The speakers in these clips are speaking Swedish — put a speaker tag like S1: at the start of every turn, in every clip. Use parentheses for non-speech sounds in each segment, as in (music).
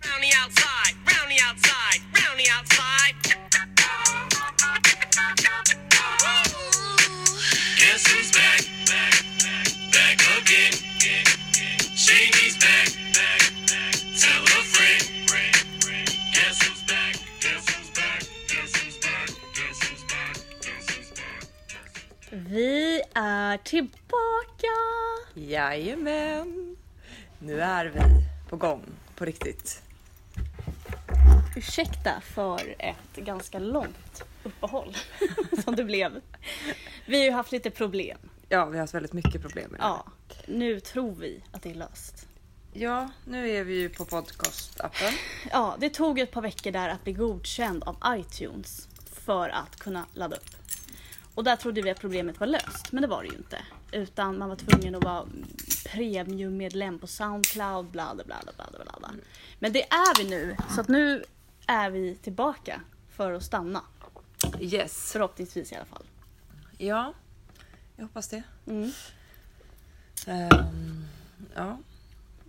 S1: outside, round the outside, round the outside. Guess who's back? Back, back again. Shady's back, back, back. Tell a friend. Guess who's back? Guess who's back? Guess who's back? Guess who's back? Guess who's back?
S2: Vi är tillbaka!
S3: Jajamän. Nu är vi på gång på riktigt.
S2: Ursäkta för ett ganska långt uppehåll (laughs) som det blev. Vi har ju haft lite problem.
S3: Ja, vi har haft väldigt mycket problem med det.
S2: Ja, nu tror vi att det är löst.
S3: ja, nu är vi ju på podcastappen.
S2: Ja, det tog ett par veckor där att bli godkänd av iTunes för att kunna ladda upp. Och där trodde vi att problemet var löst, men det var det ju inte. Utan man var tvungen att vara premiummedlem på Soundcloud, bla bla bla bla bla bla. bla. Men det är vi nu, så att nu är vi tillbaka för att stanna.
S3: Yes.
S2: Förhoppningsvis i alla fall.
S3: Ja, jag hoppas det.
S2: Mm.
S3: Ehm, ja.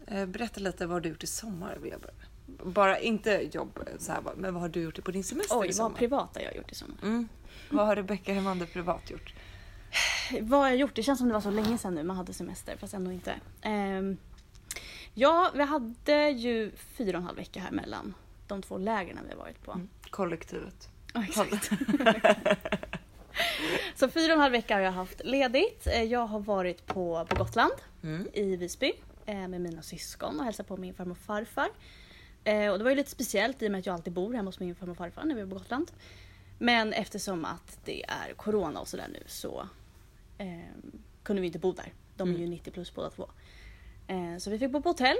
S3: Eh, Berätta lite vad du gjort i sommar. vill jag börja med. Bara inte jobb, så här, bara, men vad har du gjort på din semester i
S2: Oj, vad
S3: sommar?
S2: privata jag har gjort i sommar.
S3: mm. Vad har Rebecka Hemander privat gjort?
S2: Eh, Vad har jag gjort? Det känns som det var så länge sedan nu man hade semester, fast ändå inte. Ehm, ja, vi hade ju fyra och en halv vecka här mellan de två lägren vi har varit
S3: Mm.
S2: på.
S3: Kollektivet.
S2: Ja, exakt. (laughs) så fyra och en halv vecka har jag haft ledigt. Eh, Jag har varit på, på Gotland
S3: Mm.
S2: i Visby eh, med mina syskon och hälsat på min farmor och farfar. Eh, och det var ju lite speciellt i och med att jag alltid bor hemma hos min farmor och farfar när vi är på Gotland. Men eftersom att det är corona och sådär nu så eh, kunde vi inte bo där. De är ju 90 plus båda två. Eh, så vi fick bo på hotell.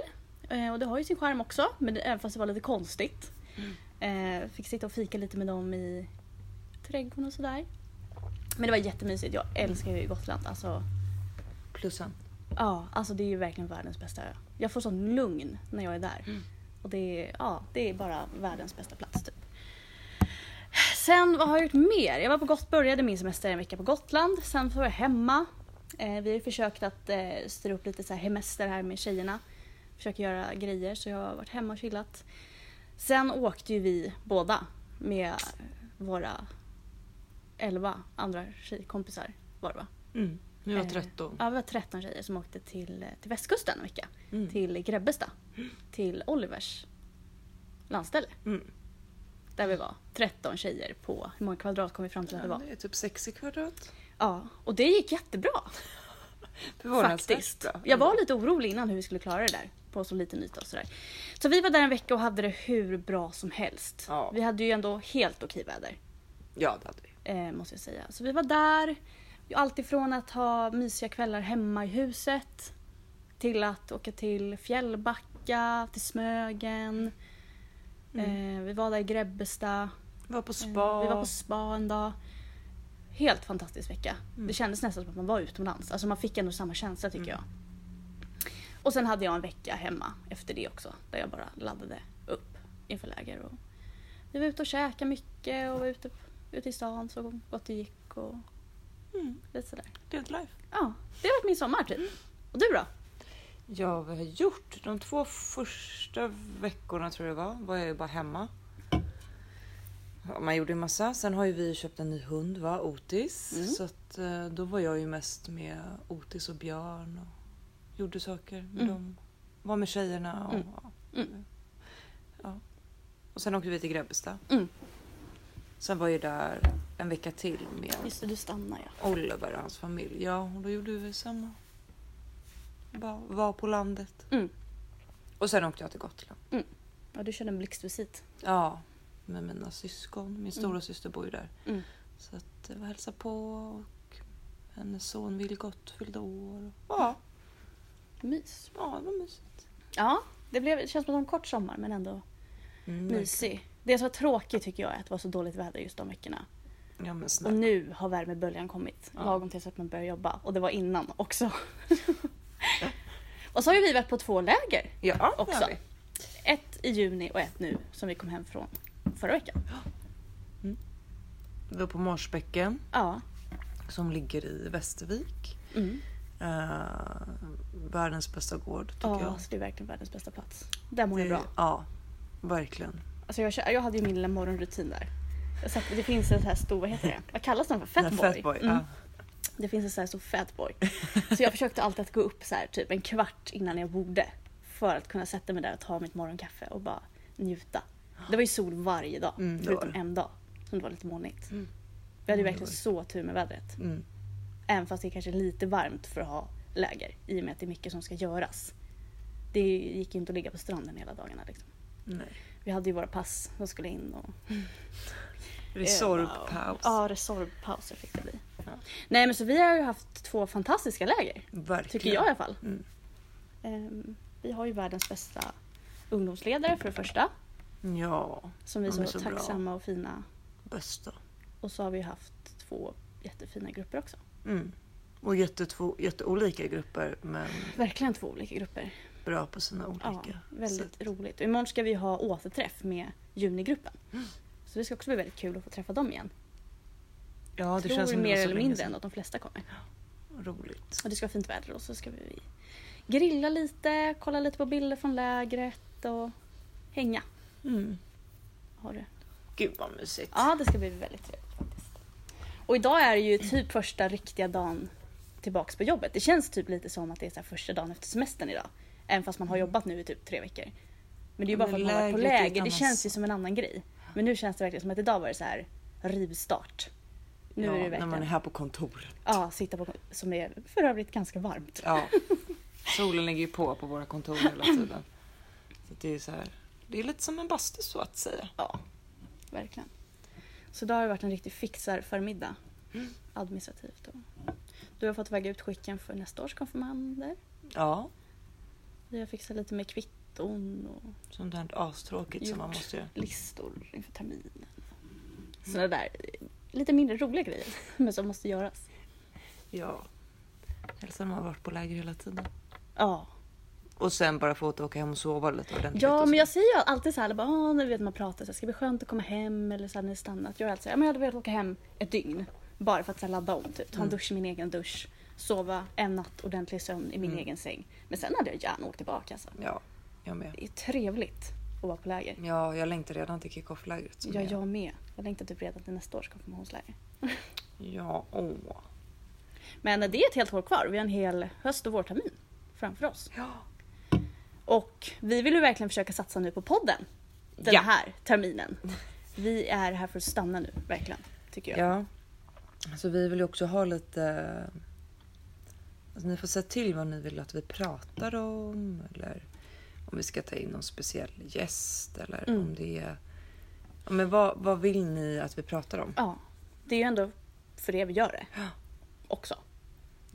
S2: Eh, och det har ju sin charm också, men det, även fast det var lite konstigt. Eh, fick sitta och fika lite med dem i trädgården och sådär. Men det var jättemysigt. Jag älskar ju Gotland. Alltså,
S3: Plussen.
S2: Ja, alltså det är ju verkligen världens bästa ö. Jag får sån lugn när jag är där. Och det är, ja, det är bara världens bästa plats typ. Sen vad har jag gjort mer? Jag var på Gotland, började min semester en vecka på Gotland. Sen så var jag hemma. Eh, vi har ju försökt att eh, styra upp lite så här hemester här med tjejerna. Försöker göra grejer så jag har varit hemma och chillat. Sen åkte ju vi båda med våra elva andra tjejkompisar var det va?
S3: Mm. Nu
S2: Eh, Ja, vi var 13 tjejer som åkte till, eh, till västkusten en vecka.
S3: Mm.
S2: Till Grebbestad. Till Olivers landställe.
S3: Mm.
S2: Där vi var 13 tjejer på, hur många kvadrat kom vi fram till att det
S3: Ja,
S2: var?
S3: det är typ 60 kvadrat.
S2: Ja, och det gick jättebra
S3: Förvånansvärt
S2: faktiskt.
S3: bra.
S2: Jag var lite orolig innan hur vi skulle klara det där på så liten yta och sådär. Så vi var där en vecka och hade det hur bra som helst.
S3: Ja.
S2: Vi hade ju ändå helt okej väder.
S3: Ja, det hade vi.
S2: eh, måste jag säga. Så vi var där. Allt ifrån att ha mysiga kvällar hemma i huset till att åka till Fjällbacka, till Smögen. Eh, vi var där i Grebbestad.
S3: Vi var på
S2: Eh,
S3: spa.
S2: Vi var på spa en dag. Helt fantastisk vecka.
S3: Mm.
S2: Det kändes nästan som att man var utomlands. Alltså man fick ändå samma känsla tycker jag. Och sen hade jag en vecka hemma efter det också. Där jag bara laddade upp inför läger. Och vi var ute och käkade mycket och var ute, ute i stan så gott det gick. Och
S3: Mm.
S2: lite sådär.
S3: Dead life.
S2: Ja, det har varit min sommar typ. Och du då?
S3: Ja, vad har jag gjort? De två första veckorna tror jag det var, var jag ju bara hemma. Ja, Man gjorde en massa. Sen har ju vi köpt en ny hund, va? Otis.
S2: Mm.
S3: Så att, eh, då var jag ju mest med Otis och Björn och gjorde saker med
S2: Mm.
S3: dem. Var med tjejerna och...
S2: Mm. Mm.
S3: Ja. Och sen åkte vi till Grebbestad.
S2: Mm.
S3: Sen var jag där en vecka till med
S2: Just det, du stannar ja.
S3: Oliver och hans familj. Ja, och då gjorde vi samma. Bara var på landet.
S2: Mm.
S3: Och sen åkte jag till Gotland.
S2: Ja, du körde en blixtvisit.
S3: Ja, med mina syskon. Min stora syster bor ju där.
S2: Mm.
S3: Så att jag var hälsa på och hennes son Vilgot fyllde år. Ja,
S2: Mys.
S3: ja det var mysigt.
S2: Ja, det, blev, det känns som en kort sommar men ändå
S3: Mm,
S2: mysig. Det som var tråkigt tycker jag är att det var så dåligt väder just de veckorna.
S3: Ja men
S2: Och
S3: snälla.
S2: nu har värmeböljan kommit.
S3: Ja.
S2: Lagom tills att man börjar jobba. Och det var innan
S3: (laughs)
S2: också. och så har ju vi varit på två läger.
S3: Ja, det
S2: Också.
S3: har vi.
S2: Ett i juni och ett nu som vi kom hem från förra veckan.
S3: Vi var på Marsbäcken
S2: Ja.
S3: som ligger i Västervik.
S2: Mm.
S3: Eh, världens bästa gård tycker
S2: Ja,
S3: jag.
S2: så det är verkligen världens bästa plats. Där mår jag
S3: Det-
S2: bra.
S3: Ja, Verkligen.
S2: Alltså jag, kör, jag hade ju min lilla morgonrutin där. Jag satt, det finns en sån här stor, vad heter det? Vad kallas den för?
S3: Den
S2: Fatboy?
S3: här Fatboy.
S2: Mm.
S3: Ja.
S2: Det finns en sån här stor
S3: (laughs)
S2: fatboy. Så jag försökte alltid att gå upp så här, typ en kvart innan jag borde. För att kunna sätta mig där och ta mitt morgonkaffe och bara njuta. Det var ju sol varje dag,
S3: Mm, det var
S2: förutom
S3: det.
S2: en dag som det var lite molnigt. Vi hade ju verkligen så tur med vädret.
S3: Mm.
S2: Även fast det kanske är lite varmt för att ha läger i och med att det är mycket som ska göras. Det gick ju inte att ligga på stranden hela dagarna. Liksom.
S3: Nej.
S2: Vi hade ju våra pass som skulle in och
S3: Resorppaus.
S2: Eh, Ja, resorbpauser fick det bli. Nej men så vi har ju haft två fantastiska läger.
S3: Verkligen.
S2: Tycker jag i alla fall.
S3: Mm.
S2: Ehm, vi har ju världens bästa ungdomsledare för det första.
S3: Ja,
S2: Som vi
S3: De
S2: är
S3: är
S2: så
S3: så bra.
S2: tacksamma och fina.
S3: bästa.
S2: Och så har vi haft två jättefina grupper också.
S3: Mm. Och jätte två, jätteolika grupper men
S2: Verkligen två olika grupper.
S3: bra på sina
S2: Ja,
S3: olika
S2: väldigt
S3: sätt.
S2: roligt. Och imorgon ska vi ha återträff med junigruppen. Så det ska också bli väldigt kul att få träffa dem igen.
S3: Ja, det
S2: Tror
S3: känns som det
S2: mer
S3: var så
S2: eller
S3: länge
S2: mindre
S3: sedan.
S2: än att de flesta kommer.
S3: Roligt.
S2: Och det ska vara fint väder och så ska vi grilla lite, kolla lite på bilder från lägret och hänga.
S3: Mm.
S2: Har du?
S3: Gud vad mysigt.
S2: Ja, det ska bli väldigt trevligt faktiskt. Och idag är det ju typ första riktiga dagen tillbaks på jobbet. Det känns typ lite som att det är så här första dagen efter semestern idag. Även fast man har jobbat nu i typ tre veckor. Men det är ju bara
S3: Mm. Men
S2: för att man har varit på
S3: lägret är ett
S2: läger. Det
S3: annat
S2: känns ju som en annan grej. Men nu känns det verkligen som att idag var det så här rivstart. Nu
S3: Ja,
S2: är det
S3: när
S2: verkligen...
S3: man är här på kontoret.
S2: Ja, sitta på... Som är för övrigt ganska varmt. (laughs)
S3: Ja. Solen ligger ju på på våra kontor hela tiden. Så det är så här. Det är lite som en bastu så att säga.
S2: Ja, verkligen. Så då har det varit en riktig fixar-förmiddag.
S3: Mm.
S2: Administrativt. Och du har fått väga ut skicken för nästa års konfirmander.
S3: Ja,
S2: Vi har fixat lite med kvitton och
S3: sånt här astråkigt som man
S2: Gjort.
S3: måste göra.
S2: listor inför terminen. Sådana där eh, lite mindre roliga grejer (laughs) men som måste göras.
S3: Ja. Hälsan har varit på läger hela tiden.
S2: Ja,
S3: Och sen bara få åka hem och sova lite ordentligt. och
S2: ja
S3: så.
S2: men jag säger ju alltid så här, bara, "Ah, när vi vet man pratar så här, ska det bli skönt att komma hem eller så här, när det stannat. Jag är alltid så här, "Ja, men jag hade velat åka hem ett dygn. Bara för att så här, ladda om, typ. ta en dusch i min egen dusch. Sova en natt ordentlig sömn i min egen säng. Men sen hade jag gärna åkt tillbaka. Alltså.
S3: Ja, jag med.
S2: Det är trevligt att vara på läger.
S3: Ja, jag längtar redan till kickoff-lägret. som
S2: Ja,
S3: är-
S2: jag med. Jag längtar typ redan till nästa års konfirmationsläger.
S3: Ja, åh.
S2: Men det är ett helt år kvar. Vi har en hel höst och vårtermin framför oss.
S3: Ja.
S2: Och vi vill ju verkligen försöka satsa nu på podden. Den
S3: Ja.
S2: här terminen. Vi är här för att stanna nu, verkligen. Tycker jag.
S3: Ja. Så vi vill ju också ha lite... Alltså, ni får säga till vad ni vill att vi pratar om. Eller om vi ska ta in någon speciell gäst. Eller
S2: Mm.
S3: om det är... Ja, Men vad, vad vill ni att vi pratar om?
S2: Ja, det är ju ändå för det vi gör det. Också.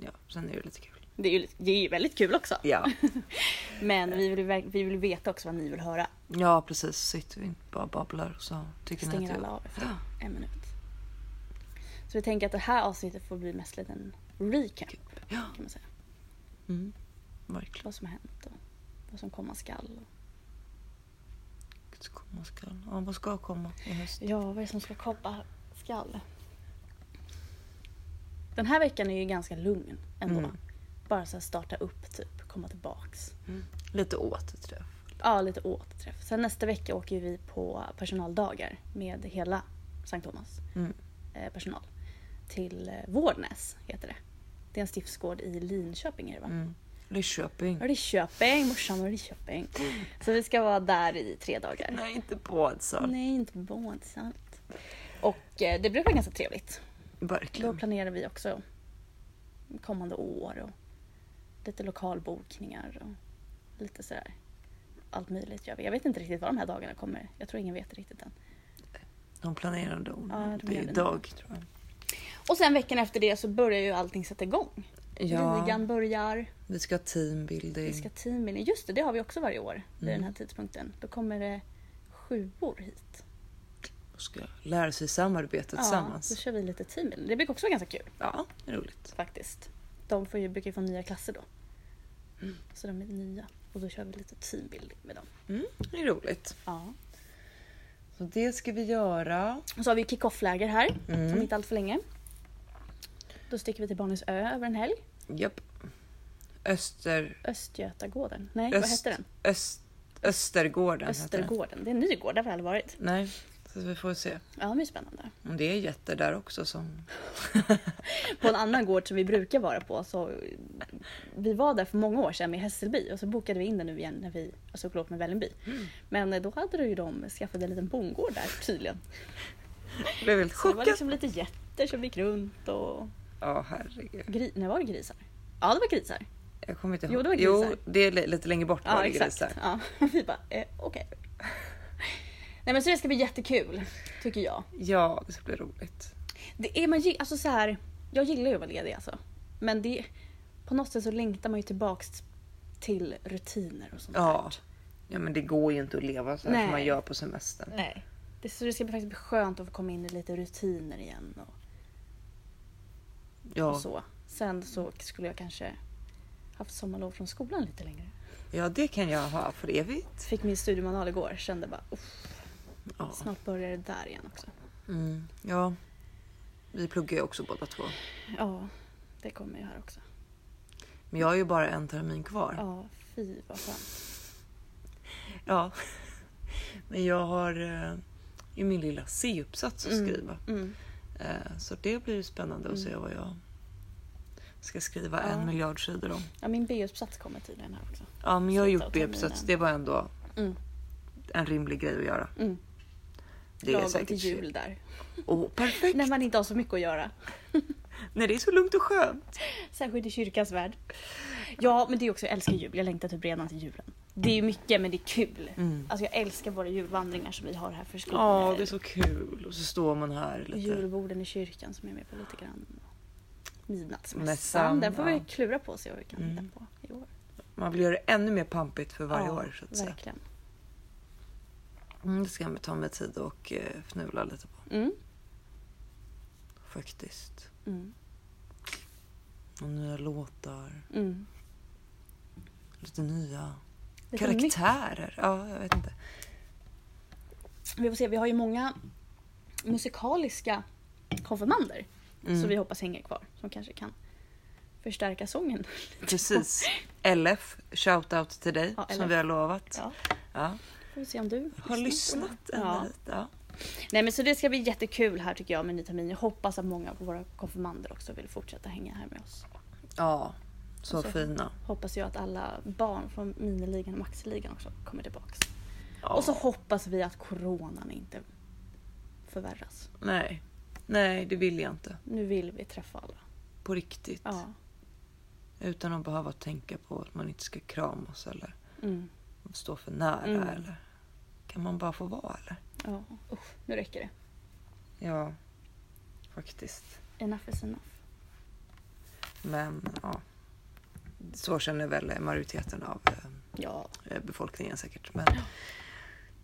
S3: Ja, sen är det lite kul.
S2: Det är ju, det är ju väldigt kul också.
S3: Ja,
S2: Men vi vill, ju verk- vi vill veta också vad ni vill höra.
S3: ja precis. Sitter vi inte bara och babblar och så tycker ni
S2: Stänger
S3: att
S2: alla av
S3: Ja.
S2: efter en minut. Så vi tänker att det här avsnittet får bli mest lite en recap.
S3: Ja.
S2: Kan man säga.
S3: Mm. Verkligen.
S2: Vad som har hänt och vad som komma skall.
S3: Så komma skall. Ja, vad ska komma i höst?
S2: Ja, vad är det som ska komma skall? Den här veckan är ju ganska lugn ändå.
S3: Mm.
S2: Bara så här starta upp typ, komma tillbaks.
S3: Lite återträff.
S2: Ja, lite återträff. Sen nästa vecka åker ju vi på personaldagar med hela Sankt Thomas
S3: Mm.
S2: eh, personal. Till eh, Vårdnäs heter det. Det är en stiftsgård i Linköping är det va?
S3: Mm. Lidköping.
S2: Lidköping, morsan var i Lidköping. Så vi ska vara där i tre dagar.
S3: Mm. Nej, inte Bådsal.
S2: Nej, inte på Bådsalt. Och eh, det blir väl ganska trevligt. Då
S3: Verkligen.
S2: planerar vi också kommande år och lite lokalbokningar och lite sådär. Allt möjligt gör vi. Jag vet inte riktigt vad de här dagarna kommer. Jag tror ingen vet riktigt än.
S3: De planerade
S2: Ja,
S3: orden.
S2: de
S3: det
S2: gör
S3: är
S2: det.
S3: idag tror jag.
S2: Och sen veckan efter det så börjar ju allting sätta igång.
S3: Ja, Mm.
S2: Ligan börjar,
S3: vi ska ha teambuilding.
S2: vi ska teambuilding. Just det, det har vi också varje år vid
S3: Mm.
S2: den här tidpunkten. Då kommer det sjuor hit.
S3: och ska lära sig samarbeta
S2: Ja,
S3: tillsammans.
S2: då kör vi lite teambuilding. Det brukar också vara ganska kul.
S3: Ja, det är roligt.
S2: faktiskt. De får ju, brukar ju få nya klasser då. Så de är nya. Och då kör vi lite teambuilding med dem.
S3: Mm, det är roligt.
S2: Ja.
S3: Så det ska vi göra.
S2: Och så har vi kick-off-läger här om
S3: Mm.
S2: inte allt för länge. Då sticker vi till Barnens ö över en helg.
S3: Japp. Öster...
S2: Östgötagården. Nej, vad
S3: Öst-
S2: hette den?
S3: Öst... Östergården heter den.
S2: Östergården. Det är en ny gård, där har jag aldrig varit.
S3: Nej, så vi får se.
S2: Ja, det är spännande.
S3: Om det är jätter där också som...
S2: På en annan gård som vi brukar vara på så vi var där för många år sedan med Hässelby och så bokade vi in den nu igen när vi, alltså förlåt med Vällingby.
S3: Mm.
S2: Men eh, då hade ju de skaffat en liten bondgård där tydligen.
S3: Jag blev helt
S2: Så det var
S3: chockad.
S2: liksom lite getter som gick runt och
S3: Ja, herregud.
S2: gri- Nej, var det grisar? Ja, det var grisar.
S3: Jag kommer inte ihåg.
S2: Jo, det var
S3: jo,
S2: grisar.
S3: det är li- lite längre bort var
S2: Ja,
S3: det
S2: exakt.
S3: grisar.
S2: Ja, (laughs) vi bara, eh, okej. Nej men så det ska bli jättekul, tycker jag.
S3: Ja, det ska bli roligt.
S2: Det är man, gi- alltså så här, jag gillar ju att vara ledig alltså. Men det, på något sätt så längtar man ju tillbaks till rutiner och sånt
S3: Ja.
S2: där.
S3: ja, men det går ju inte att leva så här
S2: Nej.
S3: som man gör på semestern.
S2: Nej. Det, så det ska faktiskt bli skönt att få komma in i lite rutiner igen och, och
S3: Ja.
S2: så. Sen så skulle jag kanske haft sommarlov från skolan lite längre.
S3: ja, det kan jag ha för evigt.
S2: Fick min studiemanual igår, kände bara uff,
S3: Ja.
S2: snart börjar det där igen också.
S3: Mm. ja, vi pluggar ju också båda två.
S2: Ja, det kommer ju här också.
S3: Men jag har ju bara en termin kvar.
S2: Ja, fy vad skönt.
S3: Ja. (laughs) Men jag har eh, ju min lilla C-uppsats att
S2: Mm.
S3: skriva.
S2: Mm.
S3: Eh, så det blir ju spännande att se vad jag ska skriva
S2: Ja.
S3: en miljard sidor om.
S2: Ja, min B-uppsats kommer tydligen här också.
S3: Ja, men jag har
S2: Sluta
S3: gjort
S2: av terminen.
S3: B-uppsats. Det var ändå
S2: Mm.
S3: en rimlig grej att göra.
S2: Mm.
S3: Det är
S2: Lagom
S3: säkert
S2: till jul där.
S3: Åh, perfekt!
S2: När man inte har så mycket att göra.
S3: Nej, det är så lugnt och skönt.
S2: Särskilt i kyrkans värld. Ja, men det är också, jag älskar jul. Jag längtar typ redan till julen. Det är ju mycket, men det är kul.
S3: Mm.
S2: Alltså jag älskar våra julvandringar som vi har här för skolan.
S3: Ja, det är så kul. Och så står man här
S2: Och
S3: lite.
S2: julborden i kyrkan som jag är med på lite grann. Midnattsmässan.
S3: Mässan,
S2: Den får vi
S3: ja.
S2: klura på och se vad vi kan hitta på i år.
S3: Man vill göra det ännu mer pampigt för varje
S2: ja,
S3: år. Så att säga.
S2: verkligen.
S3: Mm, det ska jag ta mig tid och eh, fnula lite på.
S2: Mm.
S3: Faktiskt.
S2: Mm.
S3: Och nya låtar.
S2: Mm.
S3: Lite nya
S2: Lite nytt.
S3: karaktärer. Ja, jag
S2: (laughs)
S3: vet inte.
S2: Vi får se, vi har ju många musikaliska konfirmander.
S3: Mm.
S2: Som vi hoppas hänger kvar. Som kanske kan förstärka sången.
S3: Precis. LF, shoutout till dig
S2: Ja,
S3: som
S2: LF.
S3: vi har lovat.
S2: Ja.
S3: Ja.
S2: Får vi se om du
S3: Har lyssnat ända
S2: Ja.
S3: hit. Ja.
S2: Nej men så det ska bli jättekul här tycker jag med ny termin. Jag hoppas att många av våra konfirmander också vill fortsätta hänga här med oss.
S3: ja, så
S2: så-
S3: fina.
S2: Hoppas jag att alla barn från miniligan och maxiligan också kommer tillbaks.
S3: Ja.
S2: Och så hoppas vi att coronan inte förvärras.
S3: Nej. Nej, det vill jag inte.
S2: Nu vill vi träffa alla.
S3: På riktigt.
S2: Ja.
S3: Utan att behöva tänka på att man inte ska kramas eller
S2: Mm.
S3: stå för nära.
S2: Mm.
S3: Eller. Kan man bara få vara eller?
S2: ja. Usch, nu räcker det.
S3: Ja, faktiskt.
S2: Enough is enough.
S3: Men ja. Så känner väl majoriteten av eh,
S2: Ja.
S3: eh, befolkningen säkert. Men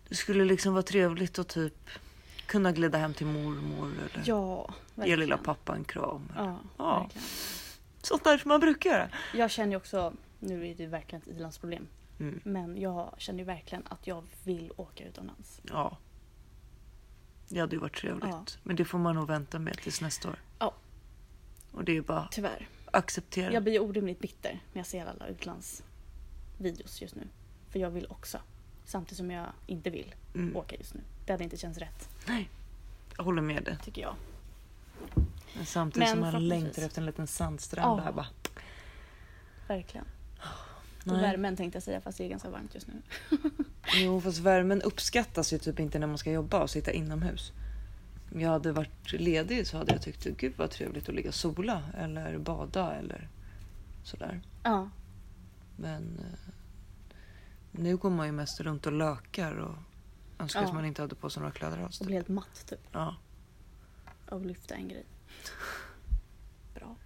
S3: det skulle liksom vara trevligt att typ kunna glida hem till mormor eller
S2: Ja.
S3: ge
S2: verkligen.
S3: lilla pappa en kram.
S2: Ja,
S3: Ja.
S2: verkligen.
S3: Sånt där som man brukar göra.
S2: Jag känner ju också, nu är det ju verkligen ett ilandsproblem.
S3: Mm.
S2: Men jag känner ju verkligen att jag vill åka utomlands.
S3: Ja. Det hade ju varit trevligt.
S2: Ja.
S3: Men det får man nog vänta med tills nästa år.
S2: Ja.
S3: Och det är ju bara att
S2: Tyvärr.
S3: acceptera.
S2: Jag blir orimligt bitter när jag ser alla utlandsvideos just nu. För jag vill också. Samtidigt som jag inte vill
S3: Mm.
S2: åka just nu. Det hade inte känts rätt,
S3: Nej, jag håller med dig.
S2: tycker jag.
S3: Men
S2: Men
S3: samtidigt som man
S2: förhoppningsvis.
S3: längtar efter en liten sandstrand
S2: Ja.
S3: där bara.
S2: Verkligen. Och
S3: Nej.
S2: värmen tänkte jag säga, fast det är ganska varmt just nu.
S3: Jo, fast värmen uppskattas ju typ inte när man ska jobba och sitta inomhus. Om jag hade varit ledig så hade jag tyckt gud vad trevligt att ligga och sola eller bada eller sådär.
S2: Ja,
S3: Men eh, nu går man ju mest runt och lökar och önskar
S2: Ja.
S3: att man inte hade på sig några kläder alls.
S2: och
S3: Typ.
S2: blir helt matt typ
S3: Ja.
S2: av att lyfta en
S3: (laughs)
S2: grej. Bra.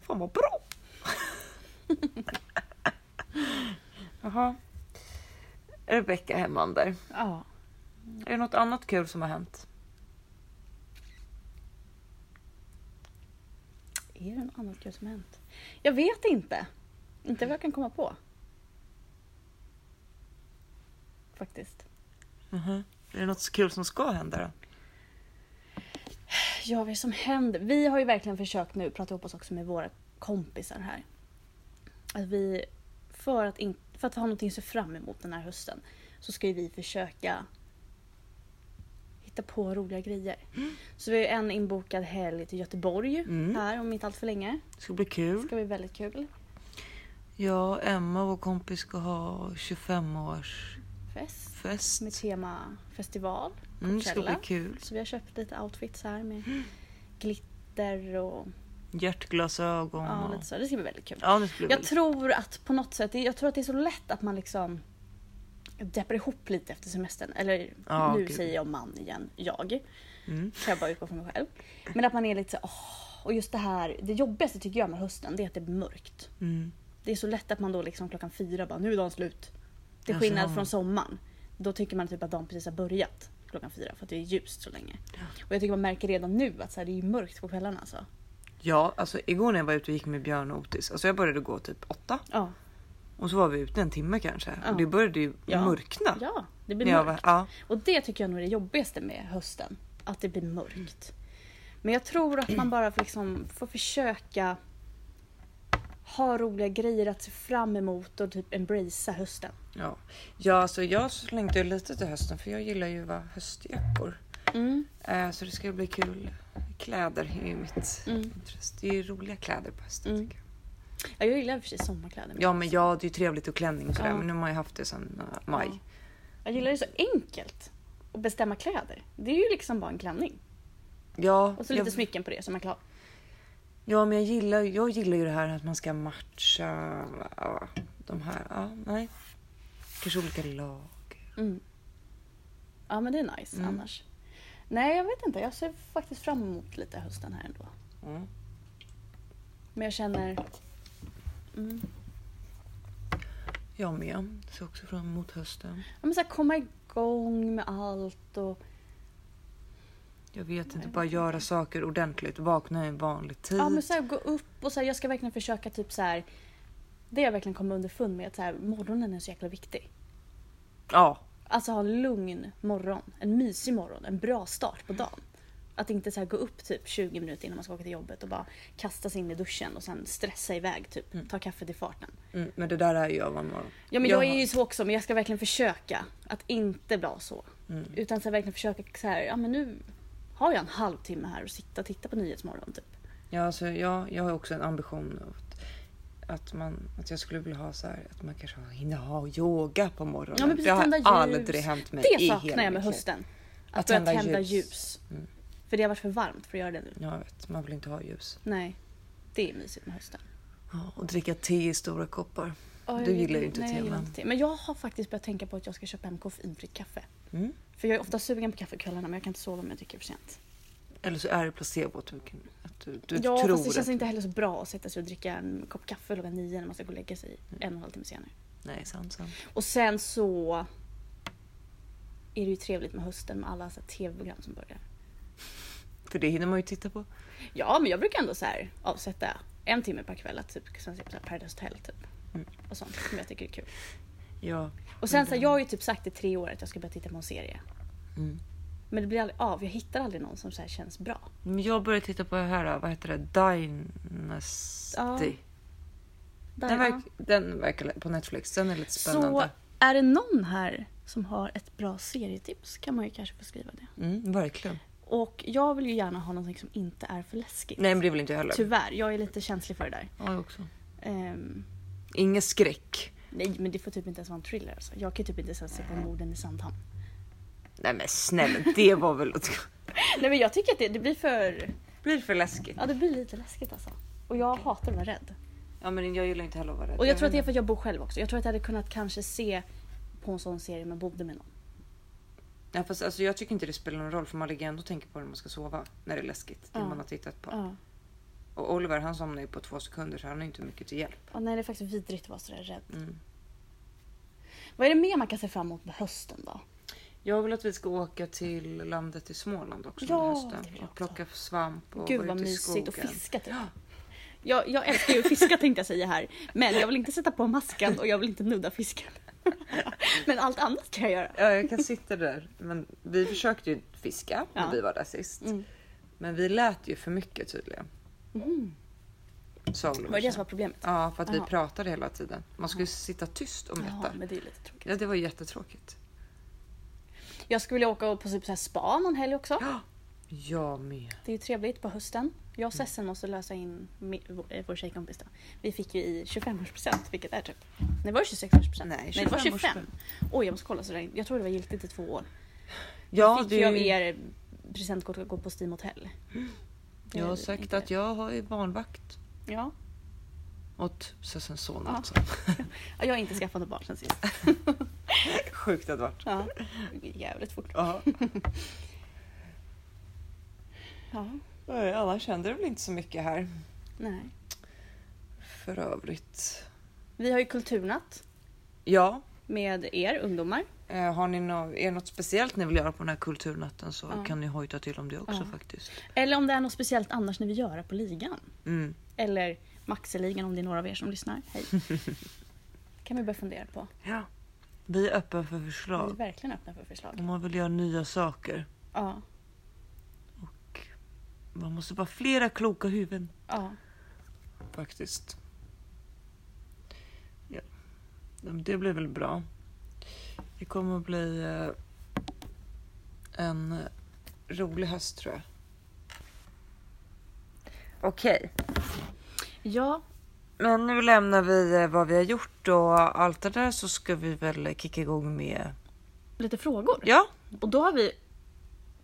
S3: Fan vad bra! (laughs) Jaha. Rebecka Hemmander.
S2: Ja.
S3: Är det något annat kul som har hänt?
S2: Är det något annat kul som har hänt? Jag vet inte. Inte vad jag kan komma på. Faktiskt.
S3: Mhm. Är det något kul som ska hända då?
S2: Ja, vad är det som händer? Vi har ju verkligen försökt nu prata ihop oss också med våra kompisar här. Att vi, för att, in, för att ha någonting att se fram emot den här hösten så ska ju vi försöka hitta på roliga grejer. Så vi har ju en inbokad helg till Göteborg
S3: Mm.
S2: här om inte allt för länge.
S3: Det ska bli
S2: Det
S3: kul.
S2: ska bli väldigt kul.
S3: Jag och Emma, vår kompis, ska ha 25-årsfest.
S2: Fest med tema festival.
S3: Mm, det ska bli
S2: Coachella.
S3: kul.
S2: Så vi har köpt lite outfits här med glitter och
S3: Hjärtglasögon
S2: ja,
S3: och...
S2: lite så. Det ska bli väldigt kul.
S3: Ja, det ska bli
S2: Jag
S3: väldigt
S2: tror att på något sätt, jag tror att det är så lätt att man liksom deppar ihop lite efter semestern. Eller
S3: Ja,
S2: nu
S3: gud.
S2: säger jag man igen, jag.
S3: Mm.
S2: Kan jag bara utgå från mig själv. Men att man är lite så åh. Och just det här, det jobbigaste tycker jag med hösten, det är att det är mörkt.
S3: Mm.
S2: Det är så lätt att man då liksom klockan fyra bara, nu är dagen slut. Till
S3: Ja,
S2: skillnad
S3: så.
S2: från sommaren. Då tycker man typ att dagen precis har börjat klockan fyra för att det är ljust så länge. Och jag tycker man märker redan nu att så här, det är ju mörkt på kvällarna alltså.
S3: Ja, alltså igår när jag var ute och gick med Björn och Otis. Alltså jag började gå typ åtta
S2: Ja.
S3: och så var vi ute en timme kanske.
S2: Ja.
S3: Och det började ju
S2: Ja.
S3: mörkna.
S2: Ja, det
S3: när
S2: blir
S3: jag
S2: mörkt.
S3: var, ja.
S2: Och det tycker jag nog är det jobbigaste med hösten. Att det blir mörkt. Men jag tror att man bara får liksom får försöka ha roliga grejer att se fram emot och typ embracea hösten.
S3: Ja. ja, alltså jag slängde ju lite till hösten för jag gillar ju va, höstjackor.
S2: Mm.
S3: Eh, så det ska bli kul. Kläder är ju mitt
S2: Mm.
S3: intresse. Det är ju roliga kläder på hösten
S2: Mm.
S3: tycker jag.
S2: Ja, jag gillar i och för sig sommarkläder.
S3: Ja, men ja, det är ju trevligt och klänning och sådär.
S2: Ja.
S3: Men nu har jag haft det sedan eh, maj.
S2: Ja. Jag gillar det så enkelt att bestämma kläder. Det är ju liksom bara en klänning.
S3: Ja,
S2: Och så lite
S3: jag,
S2: smycken på det som man klar.
S3: ja, men jag gillar, jag gillar ju det här att man ska matcha ja, de här. Ja, nej. Kanske olika lag.
S2: Mm. Ja men det är nice
S3: Mm.
S2: annars. Nej jag vet inte, jag ser faktiskt fram emot lite hösten här ändå.
S3: Mm.
S2: Men jag känner... Mm.
S3: Jag med. Ser också fram emot hösten.
S2: Ja, men så här, komma igång med allt och...
S3: Jag vet inte, bara göra saker ordentligt. Vakna i en vanlig tid.
S2: Ja, men så här, gå upp och så här, jag ska verkligen försöka typ så här... Det jag verkligen kommer underfund med att så här, morgonen är så jäkla viktig.
S3: ja.
S2: Alltså ha en lugn morgon, en mysig morgon, en bra start på dagen. Att inte så här, gå upp typ 20 minuter innan man ska åka till jobbet och bara kasta sig in i duschen och sen stressa iväg typ, ta kaffet i farten.
S3: Mm, men det där är ju jag varje morgon.
S2: Ja men
S3: har-
S2: jag är ju så också men jag ska verkligen försöka att inte vara så. Utan så här, verkligen försöka så här, ja men nu har jag en halvtimme här och sitta och titta på Nyhetsmorgon typ.
S3: Ja, alltså, jag, jag har också en ambition att, att, man, att jag skulle vilja ha så här, att man kanske har- hinner ha yoga på morgonen.
S2: Ja, men precis,
S3: det har
S2: tända ljus.
S3: aldrig hänt mig
S2: Det
S3: i
S2: saknar
S3: hela
S2: jag med
S3: mitt liv.
S2: hösten. Att,
S3: Att
S2: börja
S3: tända
S2: tända, ljus.
S3: ljus. Mm.
S2: För det har varit för varmt för att göra det nu.
S3: Ja, jag vet, man vill inte ha ljus.
S2: Nej, det är mysigt med hösten.
S3: Ja, och dricka te i stora koppar.
S2: Ja,
S3: du
S2: jag-
S3: gillar ju inte
S2: nej,
S3: te
S2: jag gillar
S3: men...
S2: inte te. Men jag har faktiskt börjat tänka på att jag ska köpa hem koffeinfritt kaffe.
S3: Mm.
S2: För jag är ofta sugen på kaffe på kvällarna men jag kan inte sova om jag dricker för sent.
S3: Eller så är det placebo att du, kan- att du, du
S2: ja,
S3: tror
S2: fast det känns
S3: att...
S2: inte heller så bra att sätta sig och dricka en kopp kaffe klockan nio när man ska gå och lägga sig
S3: Mm.
S2: en och en halv timme senare.
S3: Nej, sant, sant.
S2: Och sen så är det ju trevligt med hösten med alla så här tv-program som börjar.
S3: För det hinner man ju titta på.
S2: Ja, men jag brukar ändå så här avsätta en timme per kväll att typ sen se på så här Paradise Hotel typ.
S3: Mm.
S2: Och sånt som jag tycker är kul.
S3: Ja.
S2: Och sen så här, jag har ju typ sagt i tre år att jag ska börja titta på en serie.
S3: Mm.
S2: Men det blir aldrig av. Jag hittar aldrig någon som så här känns bra.
S3: Men jag började titta på det här, vad heter det? Dynasty.
S2: Ja, Där,
S3: Den, verk,
S2: ja.
S3: den verkar på Netflix. Den är lite
S2: Så
S3: spännande.
S2: är det någon här som har ett bra serietips kan man ju kanske få skriva det.
S3: Mm, verkligen.
S2: Och jag vill ju gärna ha någonting som inte är för läskigt.
S3: Nej, men det vill inte jag heller.
S2: Tyvärr, jag är lite känslig för det där.
S3: Ja, jag också.
S2: Ehm,
S3: Ingen skräck.
S2: nej, men det får typ inte ens vara en thriller alltså. Jag kan ju typ inte ens se på morden i Sandhamn.
S3: Nej men snälla, det var väl (laughs) att...
S2: Nej men jag tycker att det, det blir för...
S3: Blir för läskigt.
S2: Ja det blir lite läskigt alltså. Och jag hatar att vara rädd.
S3: Ja men jag gillar inte heller att vara rädd.
S2: Och jag tror att det är för att jag bor själv också. Jag tror att jag hade kunnat kanske se på en sån serie om jag bodde med någon.
S3: Ja, fast, alltså, jag tycker inte det spelar någon roll för man ligger ändå och tänker på när man ska sova. När det är läskigt. Det
S2: Ja.
S3: man har tittat på.
S2: Ja.
S3: Och Oliver han somnar ju på två sekunder så han har inte mycket till hjälp.
S2: Och nej det är faktiskt vidrigt att vara sådär rädd.
S3: Mm.
S2: Vad är det mer man kan se fram emot med hösten då?
S3: Jag vill att vi ska åka till landet i Småland också
S2: Ja, det vill
S3: under hösten.
S2: jag
S3: Och plocka svamp och
S2: Gud
S3: vara
S2: vad
S3: ute i
S2: mysigt och
S3: skogen.
S2: fiska typ.
S3: Ja.
S2: Jag, jag älskar ju att fiska tänkte jag säga här. Men jag vill inte sätta på masken och jag vill inte nudda fisken. (laughs) Men allt annat kan jag göra.
S3: Ja, jag kan sitta där. Men vi försökte ju fiska när
S2: Ja.
S3: vi var där sist.
S2: Mm.
S3: Men vi lät ju för mycket tydligen. Solo.
S2: Mhm. Var det det som var problemet?
S3: Ja, för att vi
S2: Jaha.
S3: pratade hela tiden. Man skulle ju sitta tyst om
S2: Ja,
S3: detta.
S2: men det är lite tråkigt.
S3: Ja, det var ju jättetråkigt.
S2: Jag skulle vilja åka på typ så här spa någon helg också.
S3: Jag med.
S2: Det är ju trevligt på hösten. Jag
S3: Mm.
S2: och Sessen måste lösa in mi- vår- eh, vår tjejkompis då. Vi fick ju i 25-årspresent, vilket är typ... Nej, var det 26-årspresent?
S3: Nej,
S2: det var
S3: 25.
S2: 25. Oj, jag måste kolla så där. Jag tror det var giltigt i två år.
S3: Ja,
S2: fick
S3: det
S2: ju av
S3: är ju...
S2: er presentkort att gå på Steam Hotel. Det
S3: Jag har
S2: är
S3: sagt
S2: inte-
S3: att jag har ju barnvakt
S2: Ja.
S3: åt Sessens son
S2: Ja.
S3: alltså.
S2: Ja, Jag har inte skaffat något barn sen
S3: (laughs)
S2: sist.
S3: Sjukt att vart.
S2: Ja. Jävligt fort.
S3: Ja. (laughs)
S2: Ja.
S3: Nej, Annars händer Eh, det väl inte så mycket här
S2: Nej.
S3: för övrigt.
S2: Vi har ju kulturnatt
S3: Ja,
S2: med er ungdomar.
S3: eh, har ni nå- är det något speciellt ni vill göra på den här kulturnatten så
S2: Ja.
S3: kan ni hojta till om det också
S2: Ja.
S3: faktiskt.
S2: Eller om det är något speciellt annars ni vill göra på ligan.
S3: Mm.
S2: Eller Maxeligan om det är några av er som lyssnar. (laughs) Hej. kan vi börja fundera på.
S3: Ja. Vi är öppna för
S2: Vi är
S3: förslag
S2: verkligen öppna för förslag.
S3: om man vill göra nya saker.
S2: Ja,
S3: Man måste vara flera kloka huvuden.
S2: ja.
S3: Faktiskt. Ja. Ja, men Det blir väl bra. Det kommer att bli eh, en rolig höst tror jag. Okej.
S2: ja
S3: Men nu lämnar vi eh, vad vi har gjort och allt det där så ska vi väl kicka igång med...
S2: lite frågor.
S3: Ja,
S2: Och då har vi,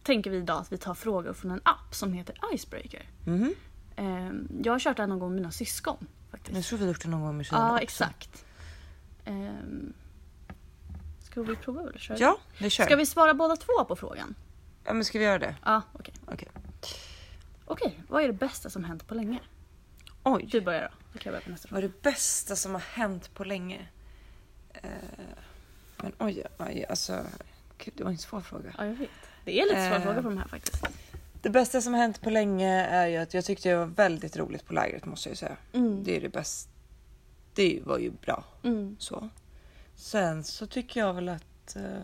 S2: tänker vi idag att vi tar frågor från en app som heter Icebreaker.
S3: Mhm.
S2: Ehm, Jag har kört den någon gång med mina syskon. Faktiskt.
S3: jag tror vi har gjort det någon gång med Kina
S2: ja,
S3: också.
S2: exakt. Ehm, Ska vi prova eller köra?
S3: Ja, det kör
S2: Ska vi svara båda två på frågan?
S3: Ja, men ska vi göra det?
S2: Ja, okej.
S3: Okej.
S2: Okej, vad är det bästa som hänt på länge?
S3: Oj.
S2: Du börjar då. Då kan jag börja på nästa fråga.
S3: Vad är det bästa som har hänt på länge? Eh, men oj, oj, alltså. Gud, det var en svår fråga.
S2: Ja, jag vet. Det är lite svåra
S3: Eh.
S2: frågor på de här faktiskt.
S3: Det bästa som har hänt på länge är ju att jag tyckte det var väldigt roligt på lägret måste jag ju säga.
S2: Mm.
S3: Det är det bästa. Det var ju bra.
S2: Mm.
S3: Så. Sen så tycker jag väl att... eh,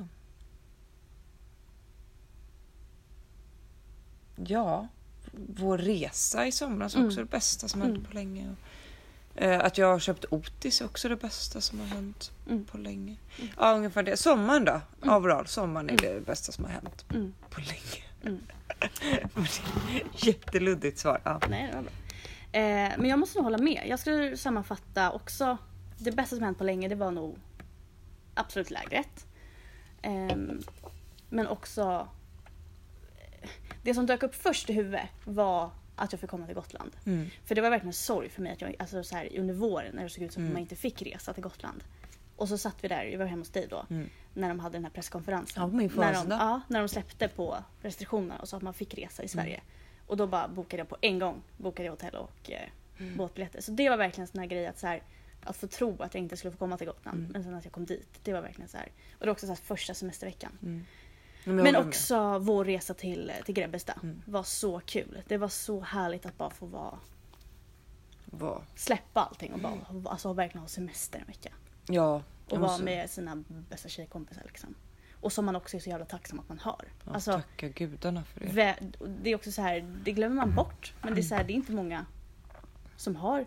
S3: ja, vår resa i somras är också
S2: Mm.
S3: det bästa som har hänt på länge. Och, eh, att jag har köpt Otis är också det bästa som har hänt
S2: Mm.
S3: på länge. Ja, ungefär det. Sommaren då? Overall, sommaren är det bästa som har hänt
S2: Mm.
S3: på länge. (laughs) Jätteluddigt svar. Ja.
S2: Nej, det var bra. Eh, men jag måste nog hålla med. Jag skulle sammanfatta också. Det bästa som hänt på länge det var nog absolut lägret. Ehm, men också eh, det som dök upp först i huvudet var att jag fick komma till Gotland.
S3: Mm.
S2: För det var verkligen en sorg för mig att jag, alltså så här, under våren när det såg ut som
S3: Mm.
S2: att man inte fick resa till Gotland. Och så satt vi där, jag var hemma hos dig då, när de hade den här presskonferensen.
S3: Mm. Ja, på min
S2: när, de,
S3: födelsedag. Mm.
S2: ja, när de släppte på restriktionerna och sa att man fick resa i Sverige. Och då bara bokade jag på en gång, bokade jag hotell och eh,
S3: Mm.
S2: båtbiljetter. Så det var verkligen en sån här grej att så här, att få tro att jag inte skulle få komma till Gotland
S3: Mm.
S2: men sen att jag kom dit. Det var verkligen så här. Och det var också så här första semesterveckan.
S3: Men, Mm. jag
S2: Men
S3: håller med. Mm.
S2: också vår resa till, eh, till Grebbestad var så kul. Det var så härligt att bara få vara
S3: Vad?
S2: släppa allting och bara alltså, verkligen ha semester en vecka.
S3: Ja.
S2: Och
S3: jag
S2: vara
S3: måste-
S2: med sina bästa tjejkompisar liksom. Och som man också är så jävla tacksam att man har.
S3: Ja,
S2: Alltså,
S3: tacka gudarna för det.
S2: vä- och det är också så här, det glömmer man bort. Men det är, så här, det är inte många som har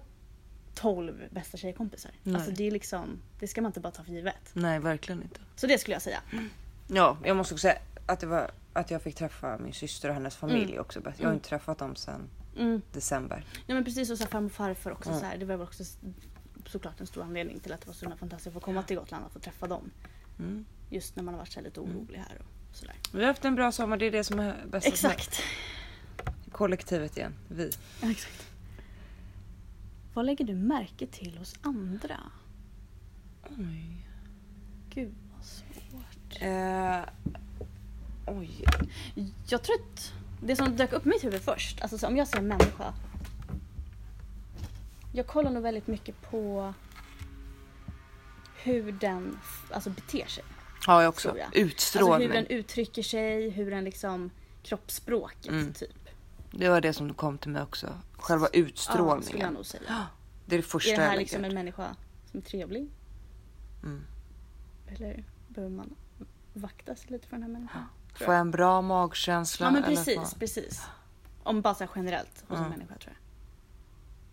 S2: 12 bästa tjejkompisar.
S3: Nej.
S2: Alltså det är liksom, det ska man inte bara ta för givet.
S3: Nej, verkligen inte.
S2: Så det skulle jag säga.
S3: Ja, jag måste också säga att, det var, att jag fick träffa min syster och hennes familj också. Jag har inte träffat dem sedan
S2: Mm.
S3: december.
S2: Ja men precis och så här, farmor och farfar också
S3: Mm.
S2: så här, det var väl också s- såklart en stor anledning till att det var så himla fantastiskt att få komma till Gotland och få träffa dem.
S3: Mm. Alltså,
S2: Just när man har varit så här lite orolig här och sådär.
S3: Vi har haft en bra sommar, det är det som är bäst.
S2: Exakt.
S3: Kollektivet igen, vi.
S2: Ja, exakt. Vad lägger du märke till hos andra? Gud vad svårt.
S3: Eh, oj.
S2: Jag tror att det som dök upp i mitt huvud först, alltså så om jag ser en människa. Jag kollar nog väldigt mycket på hur den f- alltså, beter sig.
S3: Ja, jag
S2: också. Tror jag.
S3: Utstrålning.
S2: Alltså hur den uttrycker sig, hur den liksom kroppsspråket
S3: Mm.
S2: typ.
S3: Det var det som kom till mig också. Själva
S2: Ja, skulle jag
S3: utstrålningen.
S2: nog säga.
S3: det är det första
S2: Är det
S3: jag
S2: här
S3: lägger
S2: liksom en
S3: ut.
S2: människa som är trevlig?
S3: Mm.
S2: Eller behöver man vakta sig lite för den här människan? tror
S3: Får jag en bra magkänsla?
S2: Ja men
S3: eller
S2: precis,
S3: får-
S2: precis. Om bara så här generellt hos en
S3: Ja.
S2: människa tror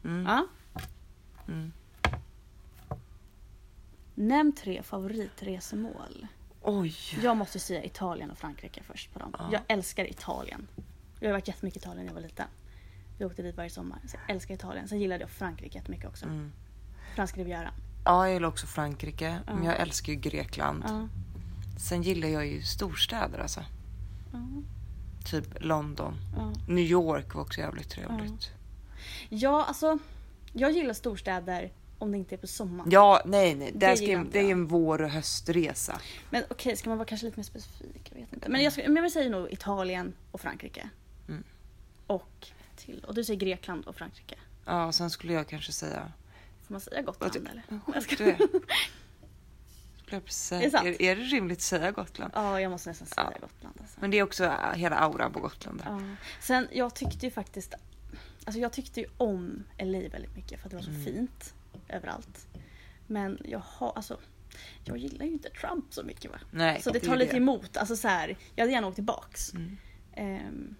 S2: jag.
S3: Mm.
S2: Ja.
S3: Mm.
S2: Nämn tre favoritresemål.
S3: Oj!
S2: Jag måste säga Italien och Frankrike först på dem.
S3: Ja.
S2: Jag älskar Italien. Jag har varit jättemycket i Italien när jag var liten. Vi åkte dit varje sommar. Så jag älskar Italien. Sen gillade jag Frankrike jättemycket också.
S3: Mm.
S2: Franska rivieran.
S3: Ja, jag gillar också Frankrike. Men
S2: Ja.
S3: jag älskar ju Grekland.
S2: Ja.
S3: Sen gillar jag ju storstäder alltså.
S2: Ja.
S3: Typ London.
S2: Ja.
S3: New York var också jävligt trevligt.
S2: Mm. ja, alltså. Jag gillar storstäder om det inte är på sommaren.
S3: Ja, nej, nej.
S2: Det
S3: Det, ska,
S2: gillar
S3: ju-
S2: inte
S3: det är
S2: jag.
S3: en vår och höstresa.
S2: Men okej, ska man vara kanske lite mer specifik? Jag vet inte. Men jag, ska, men jag säger nog Italien och Frankrike.
S3: Mm.
S2: Och till. Och du säger Grekland och Frankrike.
S3: Ja, sen skulle jag kanske säga...
S2: Får man säga
S3: Vad
S2: Gotland
S3: ty-
S2: eller?
S3: Ja,
S2: Jag
S3: skit
S2: ska-
S3: i det. Skulle jag precis
S2: Är det
S3: säga.
S2: sant?
S3: Är, är det rimligt att säga Gotland?
S2: (laughs) Ja, jag måste nästan säga
S3: Ja.
S2: Gotland. Alltså.
S3: Men det är också äh, hela auran på Gotland. där.
S2: Ja. Sen jag tyckte ju faktiskt Alltså jag tyckte ju om LA väldigt mycket för att det var så
S3: Mm.
S2: fint överallt. Men jag har alltså jag gillar ju inte Trump så mycket va.
S3: Nej,
S2: så det
S3: är
S2: tar
S3: ju
S2: lite emot. Alltså så här, jag hade gärna åkt tillbaks.
S3: Mm.
S2: Ehm,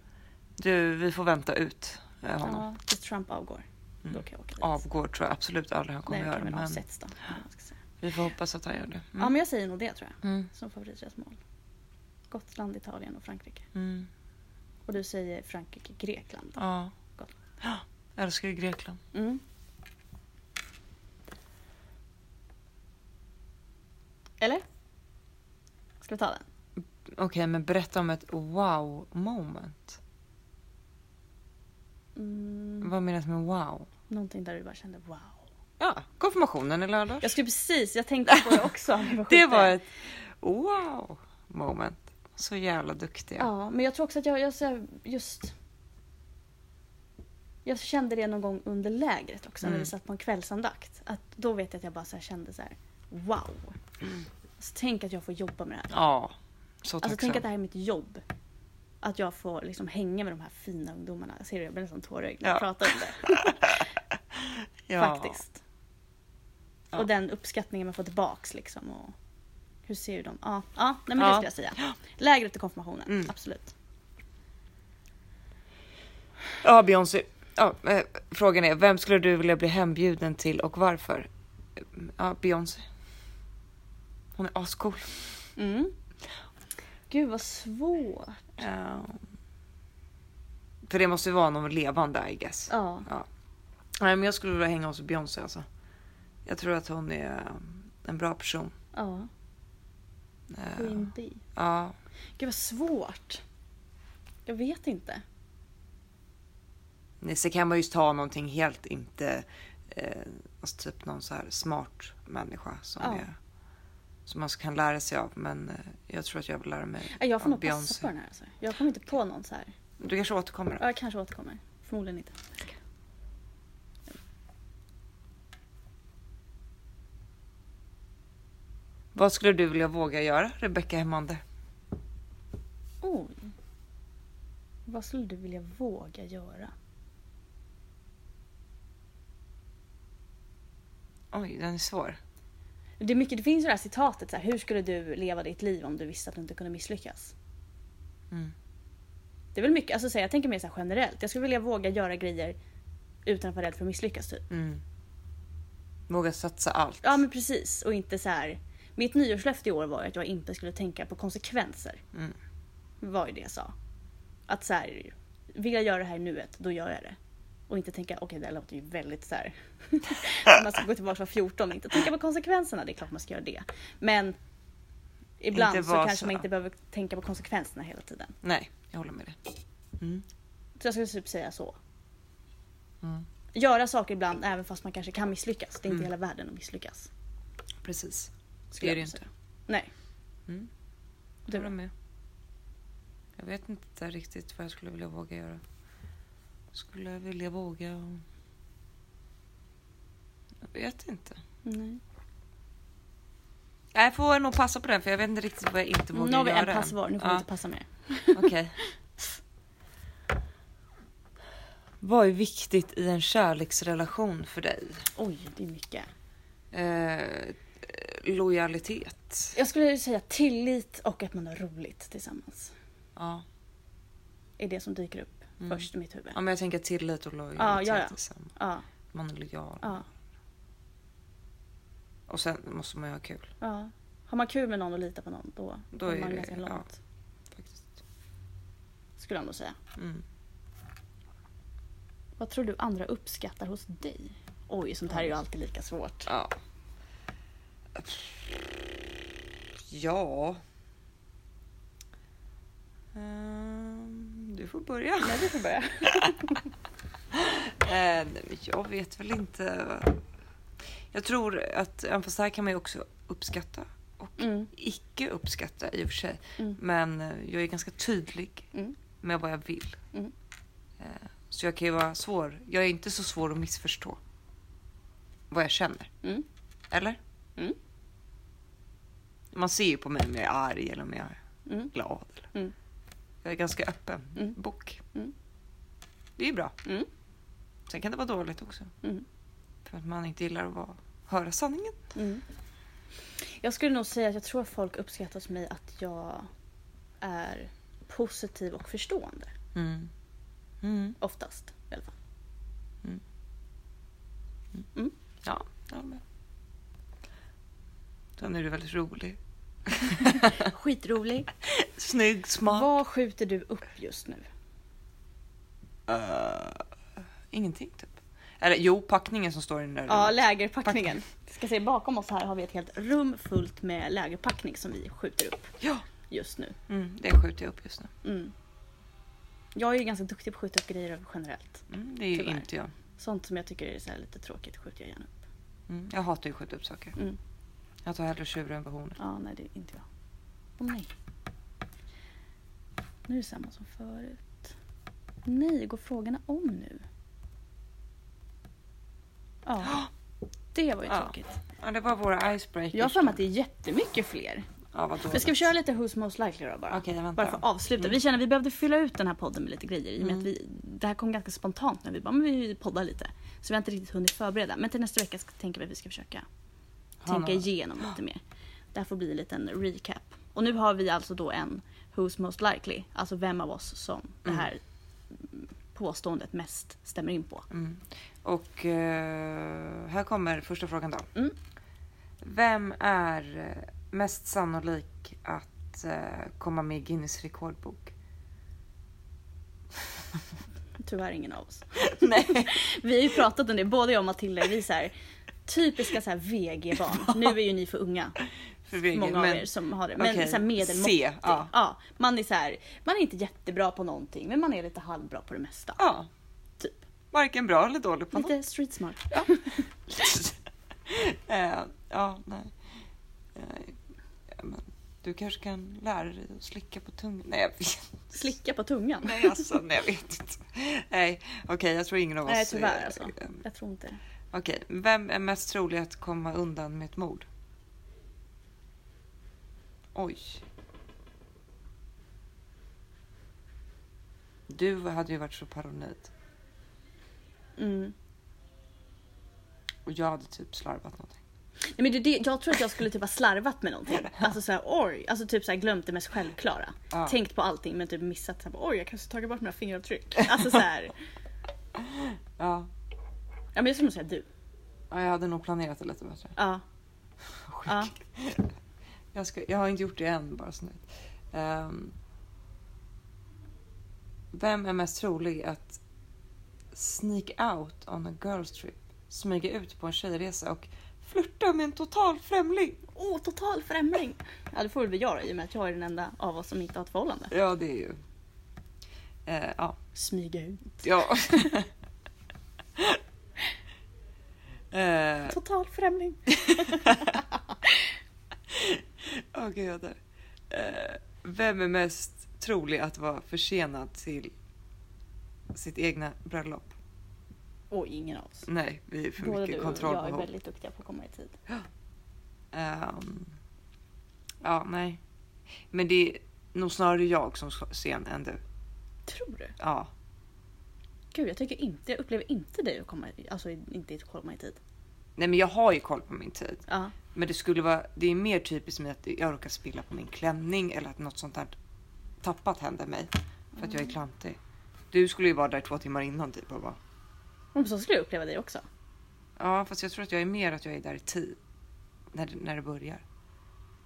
S3: Du, vi får vänta ut eh, honom.
S2: ja, tills Trump avgår. Då kan jag åka dit.
S3: Mm. Avgår tror jag absolut aldrig han kommer
S2: Nej, okej,
S3: göra.
S2: men
S3: Men
S2: avsätts då. eller vad man ska säga.
S3: vi får hoppas att han gör det. Mm.
S2: Ja men jag säger nog det tror jag.
S3: Mm.
S2: Som favoritresmål. Gotland, Italien och Frankrike.
S3: Mm.
S2: Och du säger Frankrike, Grekland. då.
S3: Ja.
S2: Gotland.
S3: ja. Jag (gasps) älskar ju Grekland.
S2: Mm. Eller? Ska vi ta den?
S3: Okej, men berätta om ett wow moment.
S2: Mm,
S3: Vad menas med wow?
S2: någonting där du bara kände wow.
S3: Ja, konfirmationen i lördags.
S2: Jag skulle precis, jag (laughs) tänkte på det också. vad
S3: Det
S2: sjukt
S3: var
S2: är.
S3: ett wow moment. Så jävla duktiga.
S2: Ja, men jag tror också att jag, jag så här, just... Jag kände det någon gång under lägret också när
S3: Mm.
S2: vi satt på en kvällsandakt. Att då vet jag att jag bara så här kände så här, wow. Alltså, tänk att jag får jobba med det här.
S3: Ja, så
S2: Alltså
S3: tacksam.
S2: tänk att det här är mitt jobb. Att jag får liksom hänga med de här fina ungdomarna. Ser du, jag blir nästan tårögd när jag
S3: Ja.
S2: pratar om det.
S3: (laughs) ja.
S2: Faktiskt.
S3: Ja.
S2: Och den uppskattningen man får tillbaks liksom. Och hur ser du dem? Ja, ja nej, men det
S3: Ja.
S2: skulle jag säga. Lägret och konfirmationen,
S3: Mm.
S2: absolut.
S3: Ja, Beyoncé. Ja, eh, frågan är, vem skulle du vilja bli hembjuden till och varför? Ja, Beyoncé. Hon är ascool.
S2: Mm. Gud vad svårt.
S3: För det måste ju vara någon levande, I guess.
S2: Ja.
S3: Nej, men jag skulle vilja hänga hos Beyoncé alltså. Jag tror att hon är eh, en bra person.
S2: ja.
S3: Eh,
S2: Queen Bee.
S3: Ja,
S2: Gud vad svårt. Jag vet inte.
S3: Nej, sen kan man ju ta någonting helt inte... Eh, alltså typ någon så här smart människa som,
S2: Ja.
S3: är, som man kan lära sig av. Men eh, jag tror att jag vill lära mig
S2: Nej, Äh, Jag får
S3: av
S2: nog passa på den här. Alltså. Jag kommer inte på någon så här.
S3: Du kanske återkommer?
S2: Ja, jag kanske återkommer. Förmodligen inte.
S3: Vad skulle du vilja våga göra, Rebecca Hemander?
S2: Oj. Vad skulle du vilja våga göra?
S3: Oj, den är svår.
S2: Det, är mycket, det finns ju det här citatet så här, hur skulle du leva ditt liv om du visste att du inte kunde misslyckas?
S3: Mm.
S2: Det är väl mycket, alltså, så här, jag tänker mer så här generellt. Jag skulle vilja våga göra grejer utan att vara rädd för att misslyckas typ.
S3: Mm. Våga satsa allt.
S2: Ja men precis och inte så här. Mitt nyårslöfte i år var ju att jag inte skulle tänka på konsekvenser.
S3: Mm.
S2: Var ju det jag sa. Att så här, vill jag göra det här i nuet, då gör jag det. Och inte tänka, okej det här låter ju väldigt så här. (laughs) man ska gå tillbaka och vara 14 och inte tänka på konsekvenserna, det är klart man ska göra det. Men ibland
S3: Inte
S2: så
S3: vara
S2: kanske
S3: så.
S2: man inte behöver tänka på konsekvenserna hela tiden.
S3: Nej, jag håller med dig.
S2: Så jag skulle typ säga så.
S3: Mm.
S2: Göra saker ibland även fast man kanske kan misslyckas. Det är inte hela världen att misslyckas.
S3: Precis. Det
S2: skulle
S3: är det
S2: jag
S3: ju
S2: säga.
S3: inte.
S2: Nej.
S3: Mm.
S2: Du
S3: Jag
S2: då?
S3: håller med. Jag vet inte riktigt vad jag skulle vilja våga göra. Skulle jag vilja våga... och- Jag vet inte.
S2: Nej.
S3: Nej, Jag får nog passa på den för jag vet inte riktigt vad jag inte vågar
S2: Nu har vi
S3: göra.
S2: en pass
S3: än.
S2: var, nu får vi
S3: ja,
S2: inte passa mer.
S3: Okej. Vad är viktigt i en kärleksrelation för dig?
S2: Oj, det är mycket.
S3: Eh, lojalitet.
S2: Jag skulle säga tillit och att man har roligt tillsammans.
S3: Ja.
S2: Är det som dyker upp först i mitt huvud.
S3: ja, men jag tänker tillit och
S2: Ja,
S3: lojalitet
S2: ja, ja.
S3: tillsammans.
S2: Ja,
S3: Man är lojal.
S2: ja.
S3: Och sen måste man ju ha kul.
S2: Ja. Har man kul med någon och litar på någon då,
S3: Då
S2: kommer
S3: är
S2: man
S3: det-
S2: ganska
S3: ja.
S2: långt.
S3: Faktiskt.
S2: Skulle jag ändå säga.
S3: Mm.
S2: Vad tror du andra uppskattar hos dig? Oj, sånt här är ju alltid lika svårt.
S3: Ja. Ja. Ehm, du får börja.
S2: Nej, du får börja.
S3: Eh, nej, men jag vet väl inte. vad- Jag tror att, även fast det här kan man ju också uppskatta och
S2: Mm.
S3: icke uppskatta i och för sig.
S2: Mm.
S3: Men eh, jag är ganska tydlig
S2: Mm.
S3: med vad jag vill.
S2: Mm.
S3: Eh, Så jag kan ju vara svår. Jag är inte så svår att missförstå. Vad jag känner.
S2: Mm.
S3: Eller?
S2: Mm.
S3: Man ser ju på mig om jag är arg eller om jag är
S2: Mm.
S3: glad. Eller.
S2: Mm.
S3: Jag är ganska öppen.
S2: Mm.
S3: Bok.
S2: Mm.
S3: Det är ju bra.
S2: Mm.
S3: Sen kan det vara dåligt också.
S2: Mm.
S3: För att man inte gillar att vara, höra sanningen.
S2: Mm. (laughs) Jag skulle nog säga att jag tror att folk uppskattar hos mig att jag är positiv och förstående.
S3: Mm. Mm.
S2: Oftast i alla fall.
S3: Ja, jag håller med. Sen är du väldigt rolig.
S2: Skitrolig.
S3: Snygg, smart.
S2: Vad skjuter du upp just nu?
S3: Äh, Ingenting typ. Eller jo, packningen som står i den där
S2: Ja,
S3: rummet.
S2: lägerpackningen. Jag ska se, bakom oss här har vi ett helt rum fullt med lägerpackning som vi skjuter upp
S3: ja.
S2: just nu.
S3: Mm, det skjuter jag upp just nu.
S2: Mm. Jag är ju ganska duktig på att skjuta upp grejer generellt.
S3: Mm, det är ju
S2: Tyvärr.
S3: inte jag.
S2: Sånt som jag tycker är så här lite tråkigt skjuter jag gärna upp.
S3: Mm, jag hatar ju att skjuta upp saker.
S2: Mm.
S3: Jag tar hellre tjuren på hornet.
S2: Ja, nej det är inte jag. Åh nej. Nu är det samma som förut. Nej, går frågorna om nu? Ja. Det var ju
S3: Ja.
S2: tråkigt.
S3: Ja, det var våra icebreakers.
S2: Jag har för mig att det är jättemycket fler.
S3: Ja, vad dåligt.
S2: Ska vi köra lite Who's Most Likely då bara?
S3: Okej, jag väntar.
S2: Bara för att avsluta. Vi känner att vi behövde fylla ut den här podden med lite grejer. I och med
S3: Mm.
S2: att vi, det här kom ganska spontant när vi bara, men vi poddar lite. Så vi har inte riktigt hunnit förbereda. Men till nästa vecka ska, tänker vi att vi ska försöka
S3: Ha
S2: tänka
S3: några.
S2: igenom lite mer. Det här får bli en liten recap. Och nu har vi alltså då en Who's Most Likely. Alltså vem av oss som det här mm, påståendet mest stämmer in på.
S3: Mm. Och eh, här kommer första frågan då.
S2: Mm.
S3: Vem är eh, mest sannolik att eh, komma med i Guinness rekordbok?
S2: Tyvärr ingen av
S3: (laughs)
S2: oss.
S3: Nej.
S2: Vi har ju pratat om det, både jag och Matilda. Vi är så här, typiska så här
S3: (laughs)
S2: VG-barn. Nu är ju ni för unga.
S3: För VG,
S2: många
S3: men,
S2: av er som har det. Men
S3: okej,
S2: så här medelmåttig.
S3: C, ja.
S2: man är så här, man är inte jättebra på någonting men man är lite halvbra på det mesta.
S3: Ja.
S2: Typ.
S3: Varken bra eller dålig på något.
S2: Lite street smart.
S3: (laughs) Eh, ja, nej. Eh, ja, men du kanske kan lära dig att slicka på tungan? Nej, jag vet
S2: (laughs) Slicka på tungan.
S3: Nej, alltså, nej, jag vet inte. Nej, okej, jag tror ingen av oss...
S2: (laughs) Nej
S3: är-
S2: tyvärr alltså.
S3: eh,
S2: Jag tror inte det.
S3: Okej, vem är mest trolig att komma undan med ett mord? Oj. Du hade ju varit så paranoid
S2: Mm.
S3: och jag hade typ slarvat någonting.
S2: Nej, men det, är det, jag tror att jag skulle typ ha slarvat med (laughs) någonting. Alltså så här, oj. Alltså typ så här, glömt det mest självklara.
S3: Ja.
S2: Tänkt på allting men typ missat så här, oj jag kanske tagit bort mina fingeravtryck. Alltså så här.
S3: Ja,
S2: Ja men jag skulle nog säga du.
S3: ja, jag hade nog planerat det lite bättre.
S2: Ja. ja.
S3: Jag, ska, jag har inte gjort det än, bara snyggt. Ehm, vem är mest trolig att sneak out on a girls trip, smyga ut på en tjejresa och flirta med en total främling?
S2: Åh total främling. Ja det får väl vi göra i och med att jag är den enda av oss som inte har ett förhållande.
S3: Ja, det är ju... Eh, ja.
S2: Smyga ut.
S3: ja. (laughs) eh,
S2: Total främling.
S3: Åh gud. Eh, vem är mest trolig att vara försenad till sitt egna bröllop?
S2: Och ingen av oss.
S3: Nej, vi är för
S2: Både du och
S3: mycket
S2: jag är
S3: kontrollbehov.
S2: väldigt duktiga på att komma i tid.
S3: Ehm, ja, nej. Men det är nog snarare jag som är sen än du.
S2: Tror du?
S3: Ja.
S2: Gud, jag tycker inte, jag upplever inte dig att komma, i- alltså inte att komma i tid.
S3: Nej, men jag har ju koll på min tid.
S2: Ja.
S3: Men det skulle vara, det är mer typiskt mig att jag råkar spilla på min klänning eller att något sånt här tappat händer mig. För att
S2: Mm.
S3: jag är klantig. Du skulle ju vara där två timmar innan typ och bara.
S2: Men så skulle jag uppleva dig också.
S3: Ja, fast jag tror att jag är mer att jag är där i tid. när, när det börjar.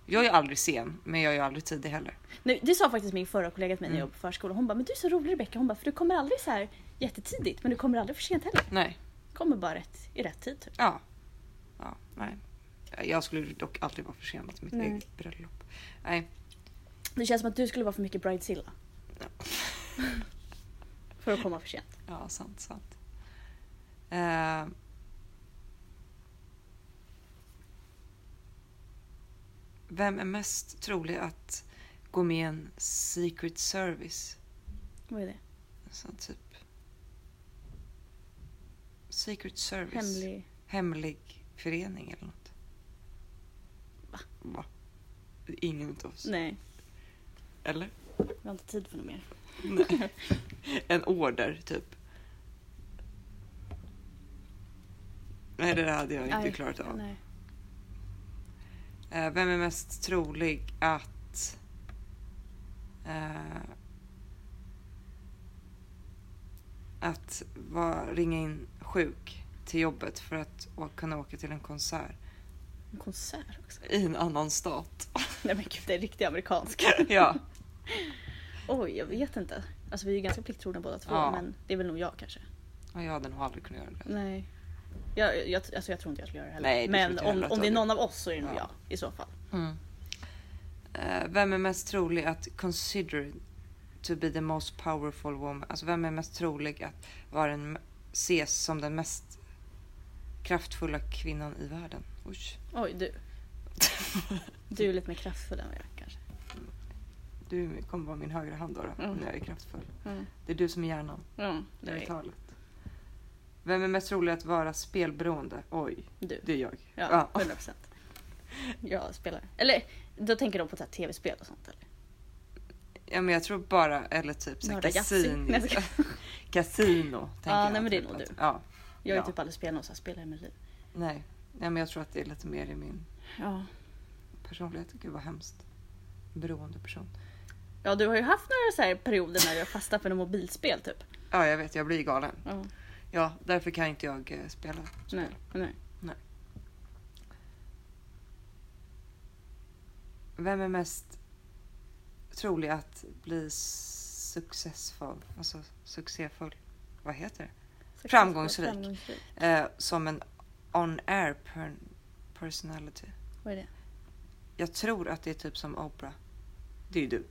S3: Jag är aldrig sen, men jag är aldrig tidig heller.
S2: Nej, det sa faktiskt min förra kollega till mig
S3: Mm.
S2: när jag jobbade på förskolan. Hon bara, men du är så rolig Rebecka. Hon bara, för du kommer aldrig så här jättetidigt men du kommer aldrig för sent heller.
S3: Nej.
S2: Du kommer bara rätt, i rätt tid. Typ.
S3: Ja. ja nej. Jag skulle dock aldrig vara försenad till mitt
S2: Nej.
S3: eget bröllop. Nej.
S2: Det känns som att du skulle vara för mycket bridezilla. (laughs) för att komma för sent.
S3: Ja, sant, sant. Eh. Vem är mest trolig att gå med i en secret service?
S2: Vad är det?
S3: Alltså typ... Secret service.
S2: Hemlig...
S3: Hemlig förening eller något.
S2: Va?
S3: Va? Ingen utav oss.
S2: Nej,
S3: Eller?
S2: vi har inte tid för något mer.
S3: Nej. en order typ. Nej, det där hade jag inte
S2: Aj,
S3: klarat av.
S2: Nej.
S3: Eh, Vem är mest trolig att... Eh, att vara, ringa in sjuk till jobbet för att å- kunna åka till en konsert
S2: En konsert också.
S3: i en annan stat.
S2: Nej men gud, det är riktigt amerikansk.
S3: ja,
S2: Oj, jag vet inte. Alltså vi är ju ganska plikttrogna båda två
S3: Ja.
S2: men det är väl nog jag kanske.
S3: och jag hade nog aldrig kunnat göra det.
S2: Nej. Jag, jag, alltså jag tror inte jag skulle göra det heller.
S3: Nej, det tror
S2: men
S3: inte jag
S2: om,
S3: heller
S2: om det är
S3: att jag-
S2: någon av oss så är det nog
S3: Ja.
S2: jag i så fall.
S3: Mm. Eh, Vem är mest trolig att consider to be the most powerful woman? Alltså vem är mest trolig att vara en, ses som den mest kraftfulla kvinnan i världen? Oj.
S2: Oj, du. Du är lite mer kraftfull än vad jag är kanske.
S3: Du kommer vara min högra hand då, då
S2: Mm.
S3: när jag är kraftfull.
S2: Mm.
S3: Det är du som är hjärnan,
S2: Mm, det
S3: jag är
S2: är
S3: talet. Vem är mest rolig att vara spelberoende? Oj,
S2: du.
S3: det är jag.
S2: Ja, 100 procent. Jag spelar. Eller då tänker de på så här tv-spel och sånt eller?
S3: ja, men jag tror bara, eller typ så här,
S2: Nörda Yatzy.
S3: kasin,
S2: Nej, jag ska-
S3: kasino. tänker
S2: Ja,
S3: jag
S2: nej, men det är
S3: typ
S2: nog
S3: att-
S2: du.
S3: Ja,
S2: Jag har
S3: Ja.
S2: ju typ aldrig spelat något så här spel i mitt liv.
S3: nej. nej, men jag tror att det är lite mer i min
S2: Ja.
S3: personlighet. Gud vad hemskt. Beroende person.
S2: ja, du har ju haft några så här perioder när du har fastnat för något mobilspel typ.
S3: Ja, jag vet, jag blir galen.
S2: Ja.
S3: Ja, därför kan inte jag eh, spela.
S2: Nej, nej.
S3: Vem är mest trolig att bli successful? Alltså succéfull? Vad heter
S2: Successful,
S3: Framgångsrik.
S2: framgångsrik.
S3: det? Eh, som en on-air per- personality.
S2: Vad är det?
S3: Jag tror att det är typ som Oprah. Det är ju du.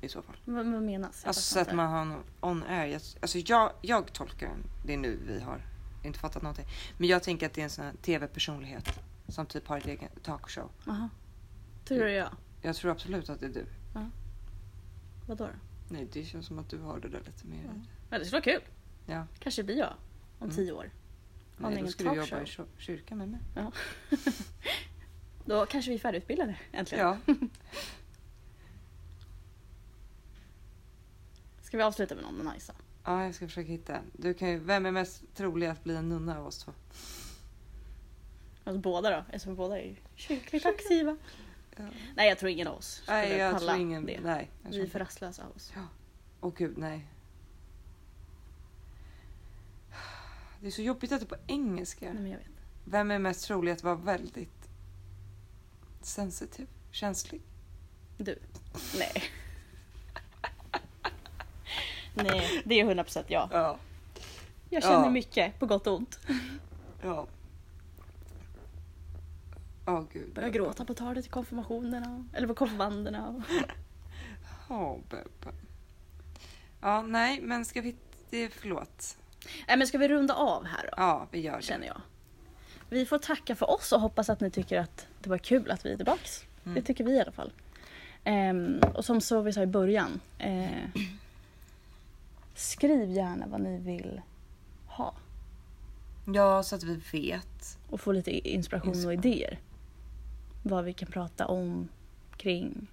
S3: I så fall.
S2: Vad, vad menas? Jag
S3: Alltså så
S2: fattar
S3: att
S2: inte.
S3: man har en on-air. Jag, alltså jag, jag tolkar den. Det är nu vi har inte fattat någonting. Men jag tänker att det är en sån här tv-personlighet. Som typ har ett egen talkshow.
S2: Jaha. Tror
S3: Mm.
S2: du jag?
S3: Jag tror absolut att det är du.
S2: Vadå då?
S3: Nej, det känns som att du har det där lite mer.
S2: Mm. Ja, det skulle vara kul.
S3: Ja.
S2: Kanske blir jag om
S3: Mm.
S2: tio år. Har ni
S3: Nej, då
S2: ingen
S3: skulle du jobba
S2: talkshow?
S3: i kyr- kyrkan med mig.
S2: Ja. (laughs) Då kanske vi är färdigutbildade äntligen.
S3: Ja.
S2: Ska vi avsluta med någon nice då?
S3: ja, jag ska försöka hitta. Du kan ju, vem är mest trolig att bli en nunna av oss två?
S2: Alltså båda då? Eftersom båda är ju kyrkligt aktiva.
S3: Ja.
S2: Nej jag tror ingen av oss skulle
S3: Nej, jag
S2: palla
S3: tror ingen...
S2: det.
S3: Nej. jag
S2: Vi
S3: tror
S2: är för
S3: inte.
S2: rastlösa av oss.
S3: Åh gud, nej. Det är så jobbigt att det är på engelska.
S2: Nej, men jag vet.
S3: Vem är mest trolig att vara väldigt sensitiv? Känslig?
S2: Du? Nej. (laughs) Nej, det är 100% jag.
S3: Ja.
S2: Jag känner
S3: Ja.
S2: mycket, på gott och ont.
S3: Ja. Åh gud.
S2: Börjar gråta på talet till konfirmationerna, eller på konfirmanderna. och-
S3: Ja, Bebbe. Ja, nej, men ska vi... Det, förlåt.
S2: Nej Äh, men ska vi runda av här då?
S3: Ja, vi gör det.
S2: Känner jag. Vi får tacka för oss och hoppas att ni tycker att det var kul att vi är tillbaks. Det tycker vi i alla fall. Ehm, och som så vi sa i början. Eh, skriv gärna vad ni vill ha.
S3: Ja, så att vi vet.
S2: och få lite inspiration och
S3: Inspiration.
S2: idéer. Vad vi kan prata om, kring.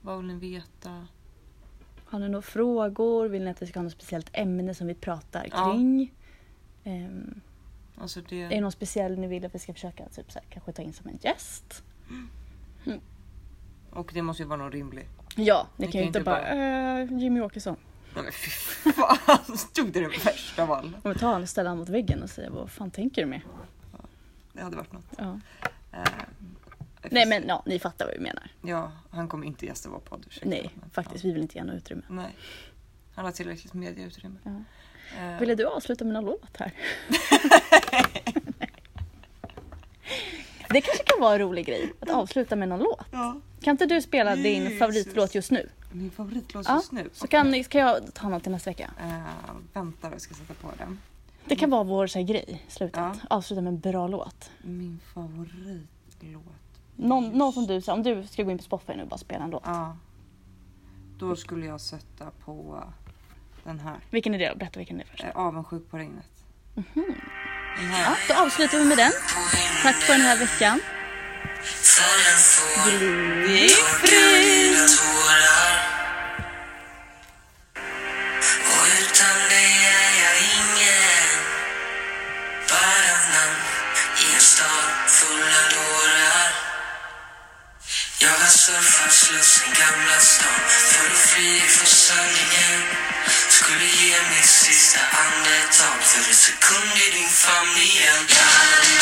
S3: Vad vill ni veta?
S2: Har ni några frågor? Vill ni att vi ska ha något speciellt ämne som vi pratar
S3: Ja.
S2: kring? Ehm,
S3: Alltså det...
S2: är det någon speciell ni vill att vi ska försöka typ, så här, kanske ta in som en gäst?
S3: Och det måste ju vara någon rimlig.
S2: Ja, ni,
S3: Ni
S2: kan ju inte bara, "Eh, Jimmy Åkesson.
S3: Nej, men fy fan. (laughs) Stod det den värsta av alla?
S2: Om vi tar honom och ställer honom mot väggen och säger vad fan tänker du med?
S3: Det hade varit något.
S2: Ja. Nej men ja, ni fattar vad vi menar.
S3: Ja, han kommer inte gästa vår podd. ursäkta.
S2: Nej,
S3: Men,
S2: faktiskt. Vi vill inte ge något utrymme.
S3: Ja, nej. Han har tillräckligt medieutrymme.
S2: Ja.
S3: Eh,
S2: Ville du avsluta med någon låt (laughs) här? det kanske kan vara en rolig grej, att avsluta med någon låt.
S3: ja.
S2: Kan inte du spela din
S3: Jesus.
S2: favoritlåt just nu?
S3: Min favoritlåt
S2: Ja,
S3: just nu.
S2: Så kan, kan jag ta någon till nästa vecka.
S3: Eh, vänta, jag ska sätta på den.
S2: Det kan vara vår så här, grej, slutet.
S3: Ja.
S2: Avsluta med en bra låt.
S3: Min favoritlåt.
S2: Någon, någon som du, så här, om du ska gå in på Spotify nu och bara spela en låt.
S3: Ja. Då skulle jag sätta på den här.
S2: Vilken är det då? Berätta vilken det är först.
S3: Eh, Avundsjuk på regnet. Den
S2: Ja,
S3: här.
S2: då avslutar vi med den. Tack för den här veckan. Glid fri.
S1: Och utan dig är jag ingen Bara namn i en stad full av dårar Jag har surfat Slussen, Gamla stan Full fri från sanningen Skulle ge mitt sista andetag för en sekund i din famn igen